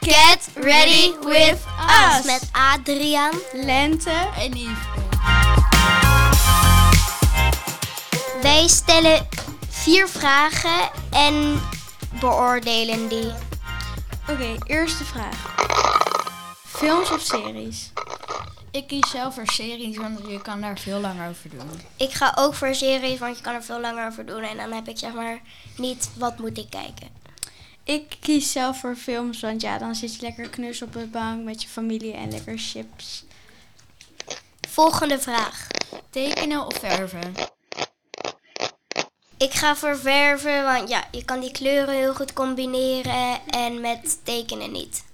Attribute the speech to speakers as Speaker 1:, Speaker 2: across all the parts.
Speaker 1: Get ready with us.
Speaker 2: Met Adriaan.
Speaker 1: Lente.
Speaker 3: En Yves.
Speaker 2: Wij stellen vier vragen en beoordelen die.
Speaker 1: Oké, eerste vraag. Films of series?
Speaker 3: Ik kies zelf voor series, want je kan daar veel langer over doen.
Speaker 2: Ik ga ook voor series, want je kan er veel langer over doen. En dan heb ik zeg maar niet wat moet ik kijken.
Speaker 1: Ik kies zelf voor films, want ja, dan zit je lekker knus op de bank met je familie en lekker chips.
Speaker 2: Volgende vraag.
Speaker 3: Tekenen of verven?
Speaker 2: Ik ga voor verven, want ja, je kan die kleuren heel goed combineren en met tekenen niet.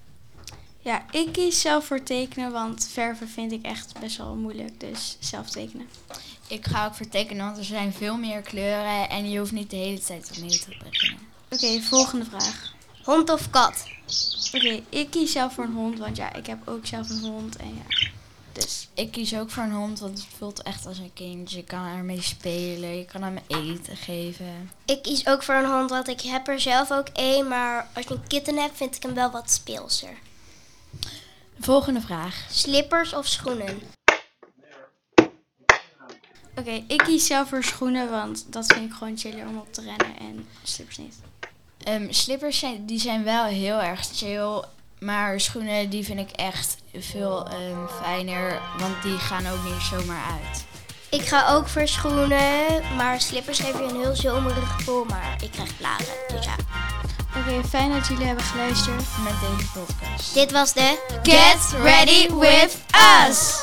Speaker 1: Ja, ik kies zelf voor tekenen, want verven vind ik echt best wel moeilijk. Dus zelf tekenen.
Speaker 3: Ik ga ook voor tekenen, want er zijn veel meer kleuren en je hoeft niet de hele tijd opnieuw te beginnen.
Speaker 1: Oké, volgende vraag.
Speaker 2: Hond of kat?
Speaker 1: Oké, ik kies zelf voor een hond, want ja, ik heb ook zelf een hond. En ja, dus
Speaker 3: Ik kies ook voor een hond, want het voelt echt als een kind. Je kan ermee spelen, je kan hem eten geven.
Speaker 2: Ik kies ook voor een hond, want ik heb er zelf ook één. Maar als je een kitten hebt, vind ik hem wel wat speelser.
Speaker 3: Volgende vraag.
Speaker 2: Slippers of schoenen?
Speaker 1: Oké, ik kies zelf voor schoenen, want dat vind ik gewoon chiller om op te rennen en slippers niet.
Speaker 3: Ehm, slippers zijn, die zijn wel heel erg chill, maar schoenen die vind ik echt veel ehm, fijner, want die gaan ook niet zomaar uit.
Speaker 2: Ik ga ook voor schoenen, maar slippers geven je een heel zomerig gevoel. Maar ik krijg blaren, dus ja.
Speaker 1: Oké, fijn dat jullie hebben geluisterd.
Speaker 3: Met deze podcast.
Speaker 2: Dit was de
Speaker 1: Get ready with us!